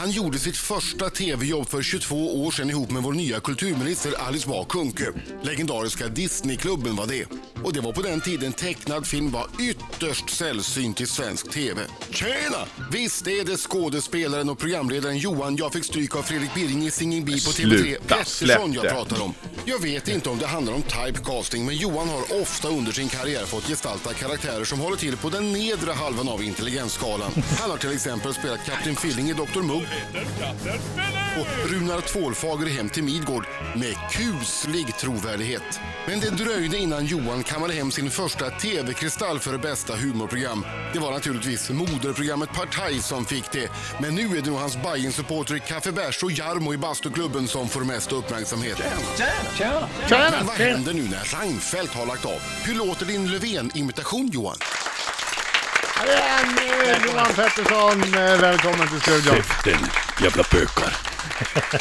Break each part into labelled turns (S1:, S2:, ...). S1: Han gjorde sitt första tv-jobb för 22 år sedan ihop med vår nya kulturminister Alice Bah Kuhnke. Legendariska Disneyklubben var det. Och det var på den tiden tecknad film var ytterst sällsynt i svensk tv. Tjena! Visst är det skådespelaren och programledaren Johan Jag fick stryk av Fredrik Birring i Singing Bee på TV3
S2: Sluta,
S1: Pettersson jag
S2: släpp det.
S1: pratar om. Jag vet inte om det handlar om typecasting, men Johan har ofta under sin karriär fått gestalta karaktärer som håller till på den nedre halvan av intelligensskalan. Han har till exempel spelat Kapten Filling i Dr. Mugg och Runar Tvålfager i Hem till Midgård med kuslig trovärdighet. Men det dröjde innan Johan kammade hem sin första TV-kristall för bästa humorprogram. Det var naturligtvis moderprogrammet Partaj som fick det. Men nu är det nog hans Bajen-supporter Kaffe Bärs och Jarmo i bastuklubben som får mest uppmärksamhet. Men vad händer nu när Reinfeldt har lagt av? Hur låter din Löfven-imitation Johan?
S3: Johan Pettersson, eh, välkommen till studion.
S2: Käften, jävla bökar.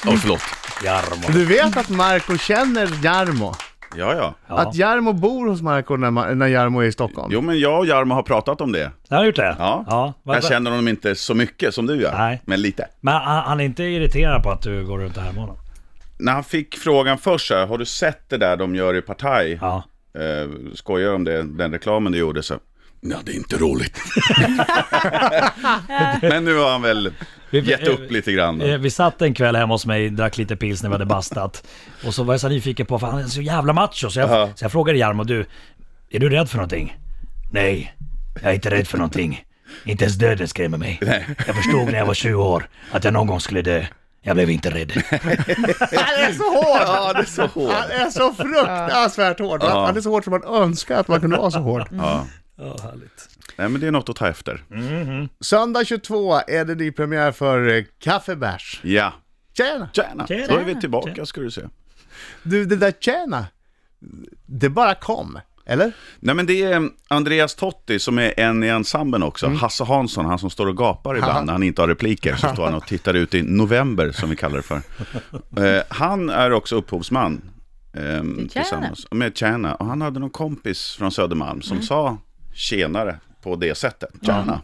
S2: Åh, förlåt.
S4: Jarmo.
S3: Du vet att Marco känner Jarmo?
S2: Ja, ja.
S4: Ja.
S3: Att Jarmo bor hos Marco när, Ma- när Jarmo är i Stockholm?
S2: Jo, men jag och Jarmo har pratat om det.
S4: Har du gjort det?
S2: Ja.
S4: Vad-
S2: jag känner honom inte så mycket som du gör,
S4: Nej.
S2: men lite.
S4: Men han, han är inte irriterad på att du går runt och härmar honom?
S2: När han fick frågan först så här, har du sett det där de gör i Partaj?
S4: Ja.
S2: Eh, skojar om det, den reklamen du gjorde så. Nej, det är inte roligt. men nu har han väl gett upp lite grann.
S4: Eh, Vi satt en kväll hemma hos mig, drack lite pils när vi hade bastat. Och så var jag så nyfiken på, för han är så jävla macho. Så jag,
S2: Ja.
S4: så jag frågade Jarmo, du, är du rädd för någonting? Nej, jag är inte rädd för någonting. Inte ens döden skrämmer mig. Jag förstod när jag var 20 år att jag någon gång skulle dö. Jag blev inte rädd.
S3: Han är så hård!
S2: Ja, det är så hårt.
S3: Han är så fruktansvärt hård.
S2: Ja.
S3: Han är så hård som man önskar att man kunde vara så hård.
S2: Ja.
S4: Ja, härligt.
S2: Nej, men det är något att ta efter.
S4: Mm.
S3: Söndag 22 är det nypremiär för eh, Kaffebärs.
S2: Ja.
S3: Tjena!
S2: Tjena.
S4: Tjena.
S2: Då är vi tillbaka ska du se.
S3: Du, det där tjena, det bara kom. Eller?
S2: Nej men det är mm, Andreas Totti som är en i ensemblen också. Hasse Hansson, han som står och gapar ibland när han inte har repliker. Så står han och tittar ut i november som vi kallar det för. Eh, han är också upphovsman. ehm,
S5: Tjäna.
S2: tillsammans med Tjäna. Och han hade någon kompis från Södermalm som sa tjenare på det sättet. Tjäna.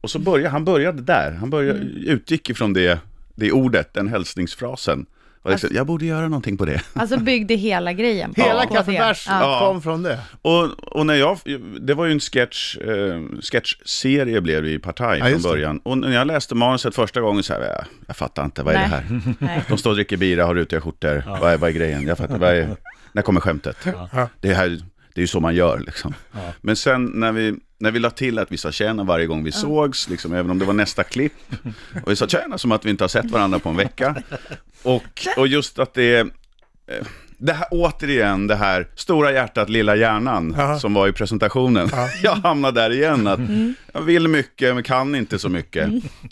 S2: Och så började han började där. Han började, utgick ifrån det, det ordet, den hälsningsfrasen. Och liksom, jag borde göra någonting på det.
S5: Alltså byggde hela grejen på
S3: Hela
S5: på
S3: Kaffebärs
S5: det. Ja.
S2: Ja.
S3: kom från det.
S2: Och, och när jag, det var ju en sketch, eh, sketchserie blev det i Partaj från
S3: just det.
S2: början. Och när jag läste manuset första gången så här, jag, jag fattar inte, vad är
S5: Nej.
S2: det här?
S5: Nej.
S2: De står och dricker bira, har rutiga skjortor, vad, är, vad är grejen? Jag fattar, vad är, när kommer skämtet? Det, här, det är ju så man gör liksom. Men sen när vi, när vi la till att vi sa tjena varje gång vi sågs, liksom, även om det var nästa klipp, och vi sa tjena som att vi inte har sett varandra på en vecka. Och, och just att det är det här, återigen det här stora hjärtat, lilla hjärnan som var i presentationen. Jag hamnar där igen. Att Jag vill mycket men kan inte så mycket.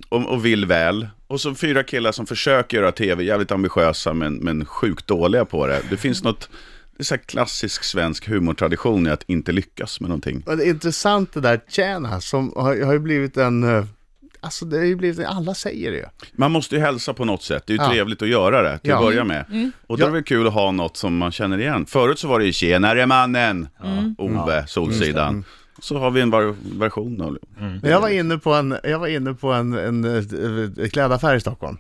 S2: Och, och vill väl. Och så fyra killar som försöker göra tv, jävligt ambitiösa men, men sjukt dåliga på det. Det finns något, det är så här klassisk svensk humortradition i att inte lyckas med någonting.
S3: Och det är intressant det där tjena, som har, har ju blivit en... eh, Alltså det har ju blivit, alla säger det ju.
S2: Man måste ju hälsa på något sätt, det är ju
S3: Ja.
S2: trevligt att göra det till
S3: Ja. Mm.
S2: att börja med.
S5: Mm.
S2: Och då är det väl kul att ha något som man känner igen. Förut så var det ju “Tjenare mannen!”
S3: Mm.
S2: Ove, Solsidan. Så har vi en var- version av det.
S3: Men Jag var inne på en, jag var inne på en, en, eh, klädaffär i Stockholm.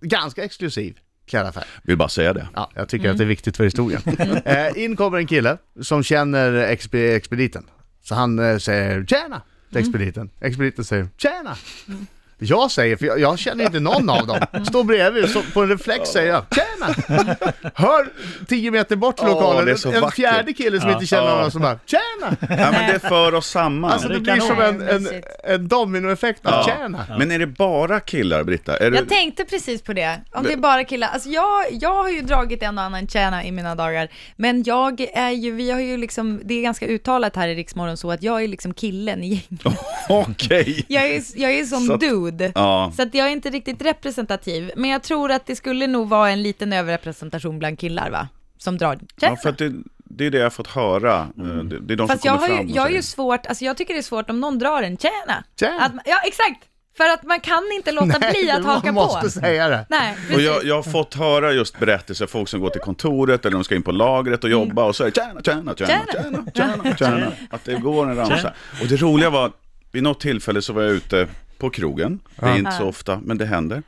S3: Ganska exklusiv klädaffär.
S2: Vill bara säga det.
S3: Ja, jag tycker att det är viktigt för historien.
S2: Mm.
S3: eh, in kommer en kille som känner exp expediten. Så han eh, säger ”Tjena!” till
S2: Mm.
S3: expediten. Expediten säger ”Tjena!” Jag säger, för jag, jag känner inte någon av
S2: Mm.
S3: dem. Står bredvid, så på en reflex säger jag ”Tjena!” Hör tio meter bort från
S2: Åh,
S3: lokalen,
S2: det är så
S3: en, en
S2: vackert.
S3: fjärde kille som inte känner någon som bara ”Tjena!”
S2: Ja, men det för oss samman.
S3: Alltså
S4: det
S3: det
S4: är kanon.
S3: blir som en, en,
S5: Mysigt.
S3: en dominoeffekt av
S2: Ja.
S3: ”Tjena!”
S2: Men är det bara killar, Britta? Är det...
S5: Jag tänkte precis på det, om det är bara killar. Alltså jag, jag har ju dragit en och annan tjäna i mina dagar, men jag är ju, vi har ju liksom, det är ganska uttalat här i Riksmorgon så att jag är liksom killen i gänget.
S2: Okej.
S5: Jag är, jag är som
S2: Så att-
S5: dude,
S2: ja.
S5: så att jag är inte riktigt representativ, men jag tror att det skulle nog vara en liten överrepresentation bland killar va? Som drar tjäna.
S2: Ja, för att det, det är det jag har fått höra.
S3: Mm.
S2: Eh, Det, det är de
S5: Fast
S2: som
S5: jag
S2: kommer
S5: har
S2: fram
S5: ju,
S2: och
S5: jag har
S2: säger-
S5: ju svårt, alltså jag tycker det är svårt om någon drar en tjäna.
S3: Tjena.
S5: Att, ja exakt, för att man kan inte låta bli att haka
S3: man måste
S5: på.
S3: säga det.
S5: Nej,
S2: Och
S5: precis.
S2: jag, jag har fått höra just berättelser, folk som går till kontoret eller de ska in på lagret och jobba och så är det tjäna, tjäna, tjäna, tjäna, tjäna, tjäna, att det går en ramsa. Och det roliga var, vid något tillfälle så var jag ute på krogen. Det är inte så ofta, men det händer.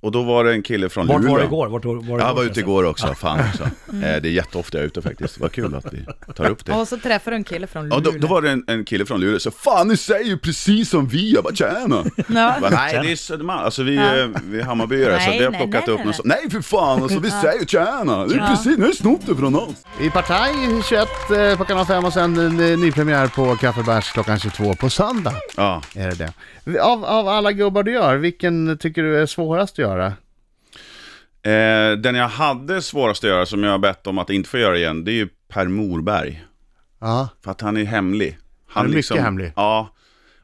S2: Och då var det en kille från
S4: Vart
S2: Luleå.
S4: var det igår? Mm. Vart var, var det
S2: Jag var ute
S4: förresten?
S2: igår också, fan också. Eh, Det är jätteofta jag är ute faktiskt. Vad kul att vi tar upp det.
S5: Och så träffar du en kille från
S2: Ja,
S5: Luleå.
S2: då, då var det en, en kille från Luleå som sa Fan ni säger ju precis som vi, jag bara tjena! Jag bara, nej det är Södermalm, alltså vi, eh, vi är Hammarbyare så
S5: Nej,
S2: vi har
S5: nej,
S2: plockat
S5: nej,
S2: upp
S5: nej.
S2: något sånt. Nej för fan alltså vi säger tjena! Det är precis, ni har snott det från oss!
S3: I Partaj 21 eh, på kanal 5 och sen eh, nypremiär på Kaffebärs klockan 22 på söndag.
S2: Ja,
S3: Är det det. Av, av alla gubbar du gör, vilken tycker du är svårast att göra?
S2: eh, den jag hade svårast att göra som jag har bett om att inte få göra igen, det är ju Per Morberg.
S3: Ja.
S2: För att han är hemlig. Han liksom-
S3: är mycket hemlig.
S2: Ja.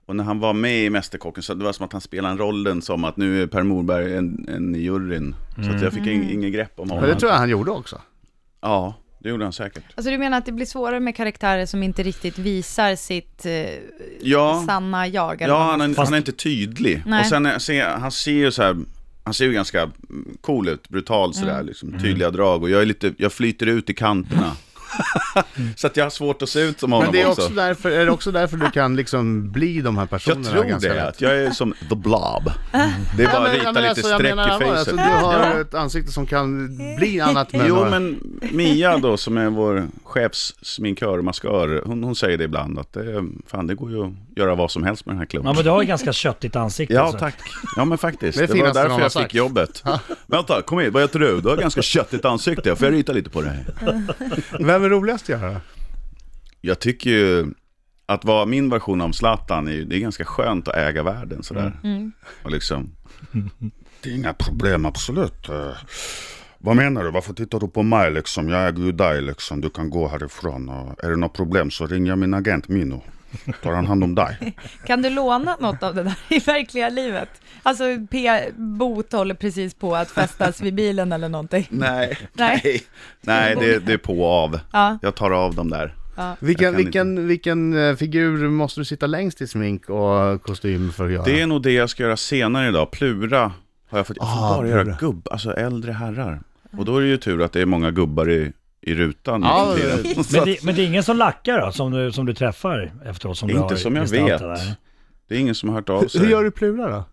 S2: Och när han var med i Mästerkocken så det var som att han spelade en rollen som att nu är Per Morberg en, en i juryn. Så att jag fick in, ingen grepp om honom.
S3: Men Mm. det tror jag han gjorde också.
S2: Ja, det gjorde han säkert.
S5: Alltså du menar att det blir svårare med karaktärer som inte riktigt visar sitt eh,
S2: Ja,
S5: sanna jag? eller
S2: ja
S5: vad man
S2: han, är,
S4: Fast-
S2: han är inte tydlig.
S5: Nej.
S2: Och sen är- ser, han ser ju så här, han ser ju ganska mm, cool ut, brutal sådär, liksom,
S3: Mm.
S2: tydliga drag. Och jag, är lite, jag flyter ut i kanterna. Mm. så att jag har svårt att se ut som honom
S3: Men det är
S2: också.
S3: också därför, är det också därför du kan liksom bli de här
S2: Jag
S3: personerna
S2: tror
S3: ganska
S2: det,
S3: lätt?
S2: att jag är som the blob. Det är bara att rita lite streck i
S3: allvar,
S2: facet.
S3: alltså, du har ett ansikte som kan bli annat men...
S2: Jo, men Mia då, som är vår chefssminkör, maskör, hon, hon säger det ibland att det, fan, det går ju att göra vad som helst med den här
S4: Ja,
S2: klumpen.
S4: men du har ju ganska köttigt ansikte.
S2: Ja,
S4: alltså.
S2: tack. Ja, men faktiskt.
S3: Det är
S2: Det, var
S3: det finaste
S2: därför
S3: någon har
S2: jag
S3: sagt.
S2: fick jobbet. Vänta, kom hit. Vad heter du? Du har ganska köttigt ansikte. Får jag rita lite på det här?
S3: Vem är roligast att göra?
S2: Jag tycker ju att vara min version av Zlatan, är, ju- det är ganska skönt att äga världen sådär. Och liksom... Mm. Det är inga problem, absolut. Eh, Vad menar du? Varför tittar du på mig liksom? Jag äger ju dig liksom. Du kan gå härifrån. Och är det något problem så ringer jag min agent Mino. Tar han hand om dig?
S5: säger. Kan du låna något av det där i verkliga livet? Alltså P. Bot håller precis på att fästas vid bilen eller någonting.
S2: Nej.
S5: Nej.
S2: Nej, det, det är på och av.
S5: Ja.
S2: Jag tar av dem där.
S3: Vilken,
S2: kan inte.
S3: vilken, vilken eh, figur måste du sitta längst i smink och kostym för att göra?
S2: Det är nog det jag ska göra senare idag. Plura har jag fått. Jag får
S3: Ah,
S2: bara göra
S3: Plura.
S2: gubb, alltså äldre herrar. Och då är det ju tur att det är många gubbar i, i rutan. nu
S3: Ja,
S2: för tiden.
S3: det-
S2: Så
S4: Men
S2: att
S4: det, men det är ingen som lackar då, som du, som du träffar efteråt? Som du
S2: Inte
S4: har
S2: som jag
S4: gestaltat
S2: vet.
S4: där?
S2: det är ingen som har hört av sig.
S3: Hur gör du Plura då?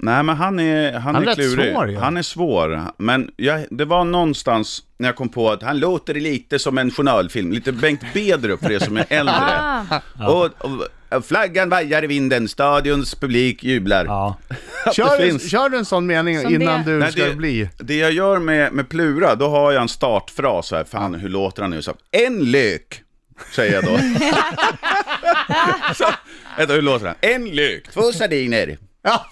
S2: Nej, men han är, han
S3: Han är
S2: är,
S3: rätt
S2: klurig.
S3: svår ju.
S2: Han är svår. Men jag, det var någonstans när jag kom på att han låter lite som en journalfilm. Lite Bengt Bedrup för er som är äldre.
S5: Ah,
S2: och, och flaggan vajar i vinden, stadions publik jublar.
S4: Ja.
S2: Att det
S3: Kör, du-
S2: finns.
S3: kör du en sån mening
S5: Som
S3: innan
S5: det-
S3: du
S2: Nej,
S3: ska
S2: det-
S3: bli?
S2: Det jag gör med, med Plura, då har jag en startfras så här, fan hur låter han nu? Så, här, en lök, säger jag då. så, vänta, hur låter han? En lök, två sardiner.
S3: Ja.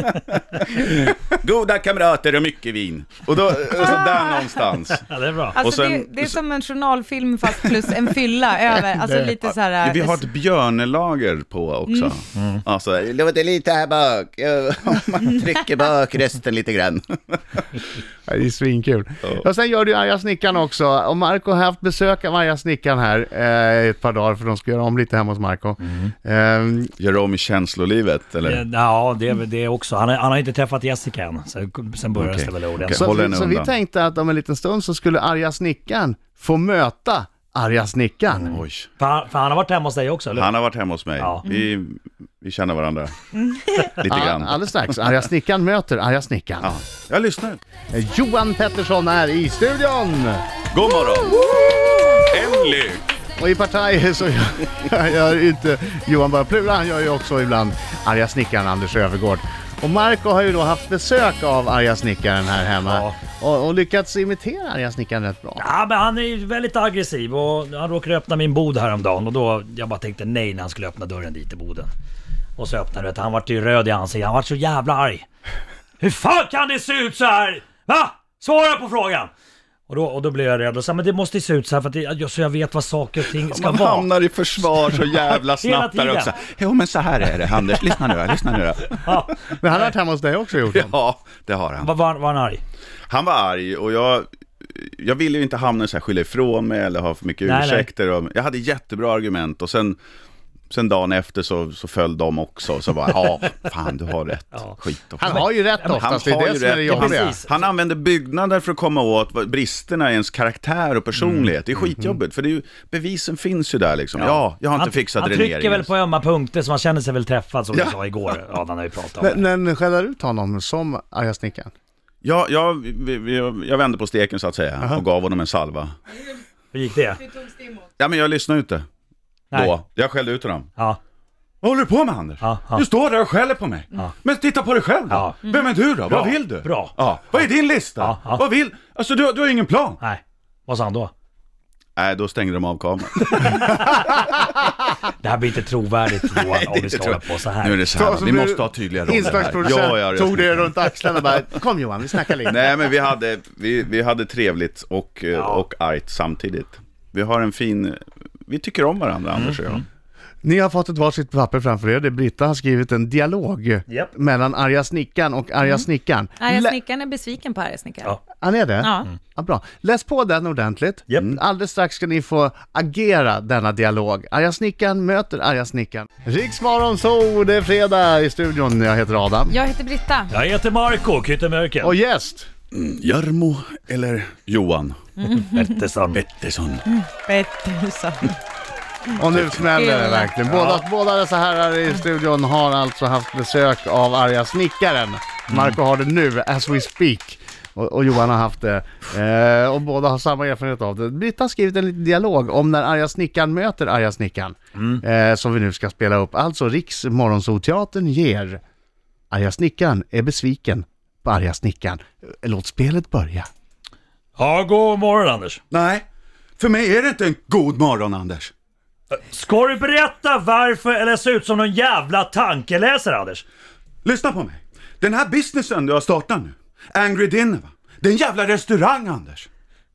S2: Goda kamrater och mycket vin. Och då, och så där någonstans.
S4: ja, det är bra.
S5: alltså
S2: Och sen-
S5: det, det är som en journalfilm fast plus en fylla över. Alltså lite så här...
S2: Vi har ett björnelager på också.
S4: Mm.
S2: Alltså, det låter lite här bak, Om man trycker bak rösten lite grann.
S3: Det är svinkul. Och sen gör du arga snickaren också. Och Marco har haft besök av arga snickaren här eh, ett par dagar för de ska göra om lite hemma hos Marco.
S2: Mm.
S3: Ehm,
S2: Gör om i känslolivet, eller?
S4: Det- Ja, det är väl det också. Han har, han har inte träffat Jessica än, så, sen börjar
S2: Okej.
S4: det väl
S2: Okej.
S4: ordentligt.
S3: så
S2: håller
S3: vi,
S2: henne
S3: så vi
S2: undan.
S3: tänkte att om en liten stund så skulle arga snickaren få möta arga snickaren.
S2: Mm. Oj.
S4: För, han- för han har varit hemma hos dig också, eller hur?
S2: Han har varit hemma hos mig.
S4: Ja. Mm.
S2: Vi, vi känner varandra. Lite
S3: Ja,
S2: grann.
S3: alldeles strax. Arga snickaren möter arga snickaren.
S2: Ja. Jag lyssnar.
S3: Eh, Johan Pettersson är i studion!
S2: God morgon! Emily!
S3: Och i Partaj så gör, gör ju inte Johan bara Plura, han gör ju också ibland arga snickaren Anders Övergård. Och Marco har ju då haft besök av arga snickaren här hemma och, och lyckats imitera arga snickaren rätt bra.
S4: Ja, men han är ju väldigt aggressiv och han råkade öppna min bod häromdagen och då jag bara tänkte nej när han skulle öppna dörren dit till boden. Och så öppnade det. Han vart ju röd i ansiktet. Han vart så jävla arg. Hur fan kan det se ut så här? Va? Svara på frågan! Och då, och då blev jag rädd och sa men det måste ju se ut så här för att det, så jag vet vad saker och ting ska
S2: Man
S4: vara.
S2: hamnar i försvar så jävla snabbt där
S4: tiden.
S2: också. Jo men så här är det, Anders. Lyssna nu, då, lyssna nu. då.
S4: Ja.
S3: Men han har varit hemma hos dig också gjort det.
S2: Ja, det har han.
S4: Var, var, var han arg?
S2: Han var arg och jag, jag ville ju inte hamna i så här skylla ifrån mig eller ha för mycket
S4: Nej, nej.
S2: ursäkter. Och, jag hade jättebra argument och sen sen dagen efter så, så föll de också och så bara, ja, fan du har rätt.
S4: Ja.
S2: Skit också.
S3: Han har ju rätt oftast, det är det som är det
S2: rätt.
S3: jobbiga.
S4: precis.
S2: Han använder byggnader för att komma åt vad- bristerna i ens karaktär och personlighet.
S4: Mm.
S2: Det är skitjobbigt, för det är ju, bevisen finns ju där liksom. Ja, jag har inte
S4: han,
S2: fixat
S4: Han
S2: dräneringen.
S4: trycker väl på ömma punkter så man känner sig väl träffad som
S2: Ja.
S4: du sa igår. Adam när vi pratade om det.
S3: Men, men skäller ut honom som arga snickaren?
S2: Ja, jag, vi- vi- jag, jag vände på steken så att säga och gav honom en salva.
S4: Hur gick det?
S2: Ja, men jag lyssnade inte
S4: Nej.
S2: då. Jag skällde ut honom.
S4: Ja,
S2: Vad håller du på med Anders?
S4: Ja, ja.
S2: Du står där och skäller på mig. Men titta på dig själv då.
S4: Ja.
S2: Vem är du då?
S4: Bra,
S2: Vad vill du?
S4: bra.
S2: Ja. Vad är din lista?
S4: Ja, ja.
S2: Vad vill... Alltså du, du har ju ingen plan.
S4: nej. Vad sa han då?
S2: Nej, då stängde de av kameran.
S4: Det här blir inte trovärdigt Johan om vi ska hålla på så här.
S2: Nu är det så här,
S3: Så-
S2: vi
S3: så
S2: måste ha tydliga roller här.
S3: Inslagsproducent
S2: ja, jag
S3: tog
S2: ska-
S3: det runt axlarna och bara Kom Johan, vi snackar lite.
S2: Nej, men vi hade, vi, vi hade trevligt och, eh, och argt samtidigt. Vi har en fin... Vi tycker om varandra, Anders och
S4: Mm,
S2: jag.
S3: Ni har fått ett varsitt papper framför er där Britta har skrivit en dialog
S4: Japp.
S3: mellan arga snickaren och arga
S2: Mm.
S3: snickaren.
S5: Arga
S3: Lä-
S5: snickaren är besviken på arga snickaren.
S4: Ja.
S3: Han är det?
S5: Ja.
S3: Ja, bra. Läs på den ordentligt.
S4: Japp.
S3: Mm. Alldeles strax ska ni få agera denna dialog. Arga snickaren möter arga snickaren. Riksmorgon så det är fredag i studion. Jag heter Adam.
S5: Jag heter Britta.
S4: Jag heter Marco Kyttemörken.
S3: Och gäst!
S4: mm.
S2: Jarmo eller Johan
S4: Pettersson.
S2: Pettersson.
S5: Pettersson.
S3: Och nu smäller det verkligen. Båda, båda dessa herrar i studion har alltså haft besök av arga snickaren. Marco har det nu, as we speak. Och, och Johan har haft det. Eh, och båda har samma erfarenhet av det. Britta har skrivit en liten dialog om när arga snickaren möter arga snickaren. Eh, som vi nu ska spela upp. Alltså Riks Morgonzoo-teatern ger Arga snickaren är besviken på arga snickaren. Låt spelet börja.
S4: Ja, god morgon Anders.
S2: Nej, för mig är det inte en god morgon, Anders.
S4: Ska du berätta varför eller ser ut som någon jävla tankeläsare Anders?
S2: Lyssna på mig. Den här businessen du har startat nu, Angry Dinner va? Det är en jävla restaurang, Anders.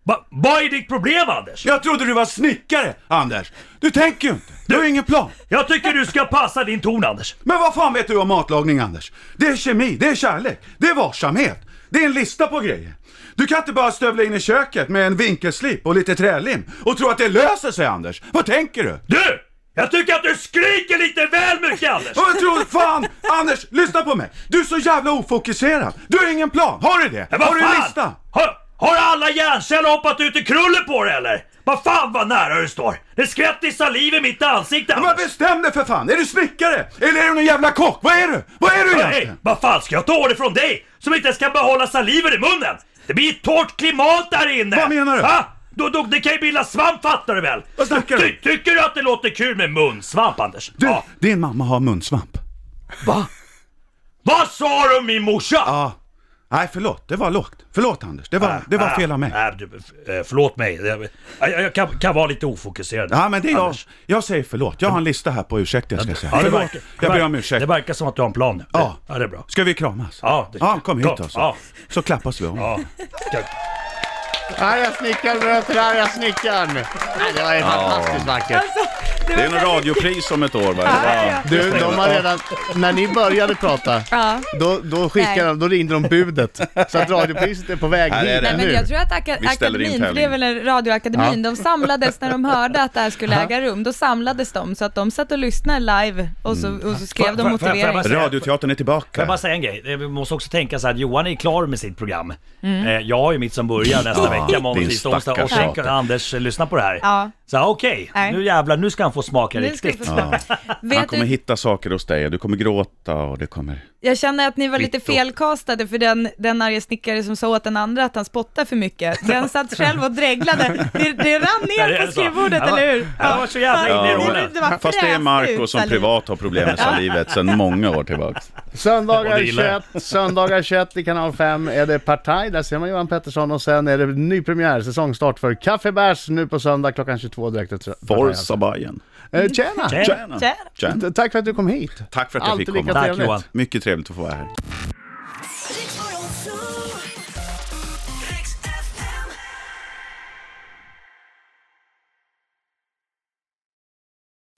S4: Va- Vad är ditt problem Anders?
S2: Jag trodde du var snickare, Anders. Du tänker ju inte. Du har ingen plan.
S4: Jag tycker du ska passa din ton Anders.
S2: Men vad fan vet du om matlagning, Anders? Det är kemi, det är kärlek, det är varsamhet. Det är en lista på grejer. Du kan inte bara stövla in i köket med en vinkelslip och lite trälim och tro att det löser sig, Anders. Vad tänker du?
S4: Du! Jag tycker att du skriker lite väl mycket Anders!
S2: Och jag tror fan, Anders, lyssna på mig. Du är så jävla ofokuserad. Du har ingen plan. Har du det?
S4: Men vad
S2: Har du en
S4: fan?
S2: lista?
S4: Har, har alla hjärnceller hoppat ut i krullen på dig eller? Vad fan vad nära du står! Det skvätter saliv i mitt ansikte
S2: Men
S4: Anders!
S2: bestäm dig för fan! Är du snickare? Eller är du någon jävla kock? Vad är du? Vad är du
S4: Hej,
S2: egentligen?
S4: vad fan ska jag ta order från dig som inte ens kan behålla saliven i munnen? Det blir ett torrt klimat där inne!
S2: Vad menar du?
S4: Ha? Då, då, det kan ju bilda svamp fattar du väl?
S2: Vad snackar du?
S4: tycker du att det låter kul med munsvamp Anders?
S2: Du,
S4: Ja.
S2: din mamma har munsvamp.
S4: Va? Vad sa du om min morsa?
S2: Ja. Nej, förlåt. Det var lågt. Förlåt Anders. Det var, det var fel av mig.
S4: Äh, äh, du, eh, förlåt mig. Jag, jag, jag kan, kan vara lite ofokuserad.
S2: Ja, men det är jag.
S4: Anders.
S2: Jag säger förlåt. Jag har en lista här på ursäkter jag ska säga.
S4: Ja, det
S2: Förlåt.
S4: verkar-
S2: Jag ber om
S4: det verkar-
S2: ursäkt.
S4: Det verkar som att du har en plan nu.
S2: Ja.
S4: Ja, det är bra.
S2: Ska vi kramas?
S4: Ja, det-
S2: ja kom hit
S4: Ja,
S2: alltså.
S4: ja.
S2: Så klappas vi om.
S4: Ja. Ska-
S3: Arga snickaren möter arga snickaren. Nej, Det var ju fantastiskt vackert.
S5: Alltså, Det var väldigt-
S2: radiopris om ett år va?
S3: Du, de har redan, när ni började prata,
S5: Ja.
S3: då, då, skickade de, då ringde de budet. Så att radiopriset är på väg
S2: Här är
S3: hit
S2: det.
S5: Nej, men
S3: nu.
S5: jag tror att aka-
S2: Vi ställer in
S5: akademin, för det är
S2: tävlingen.
S5: väl en radioakademin, de samlades när de hörde att det här skulle äga rum. Då samlades de, så att de satt och lyssnade live och så,
S2: Mm.
S5: och så skrev
S4: Får-
S5: de
S4: får- får- får jag bara
S5: motivering.
S4: säga-
S2: Radioteatern är
S4: Får jag bara
S2: tillbaka.
S4: säga en grej? Eh, Vi måste också tänka så här att Johan är klar med sitt program.
S5: Mm.
S4: Eh, Jag har ju mitt som börjar nästa vecka, måndag,
S2: Ah, din
S4: tisdag, onsdag. Och
S2: stackars
S4: sen kan
S2: tjater.
S4: Anders eh, lyssna på det här.
S5: Ja.
S4: Så här, okej,
S5: Nej.
S4: nu jävlar, nu ska han få smaka
S5: Nu ska vi få
S4: riktigt.
S5: smaka.
S2: Han
S5: Vet
S2: kommer
S5: du,
S2: hitta saker hos dig och du kommer gråta och det kommer...
S5: jag känner att ni var lite
S2: Kvitto.
S5: felkastade för den, den arga snickare som sa åt den andra att han spottar för mycket. Den satt själv och dreglade. Det, det rann
S4: Nej, det
S5: ner
S4: är så.
S5: på skrivbordet,
S4: Han var-
S5: eller hur?
S4: han var så jävla inne i
S5: Ja,
S4: rollen.
S5: var
S2: Fast det är
S5: fräst
S2: Marco
S5: ut,
S2: som
S5: saliv.
S2: privat har problem med salivet sedan många år tillbaka.
S4: Och
S3: Söndagar
S4: det gillar
S3: 21, söndagar 21 i kanal 5 är det Partaj, där ser man Johan Pettersson och sen är det nypremiär, säsongstart för Kaffebärs nu på söndag klockan 22 direkt efter Partaj, alltså.
S2: Forza Bajen.
S3: Eh,
S4: Tjena.
S3: Tjena!
S2: Tjena!
S5: Tjena.
S2: Tjena!
S3: Tack för att du kom hit!
S2: Tack för att jag
S3: Alltid
S2: fick
S3: lika
S2: komma.
S4: Tack
S3: trevligt.
S4: Johan.
S2: Mycket trevligt att få vara här.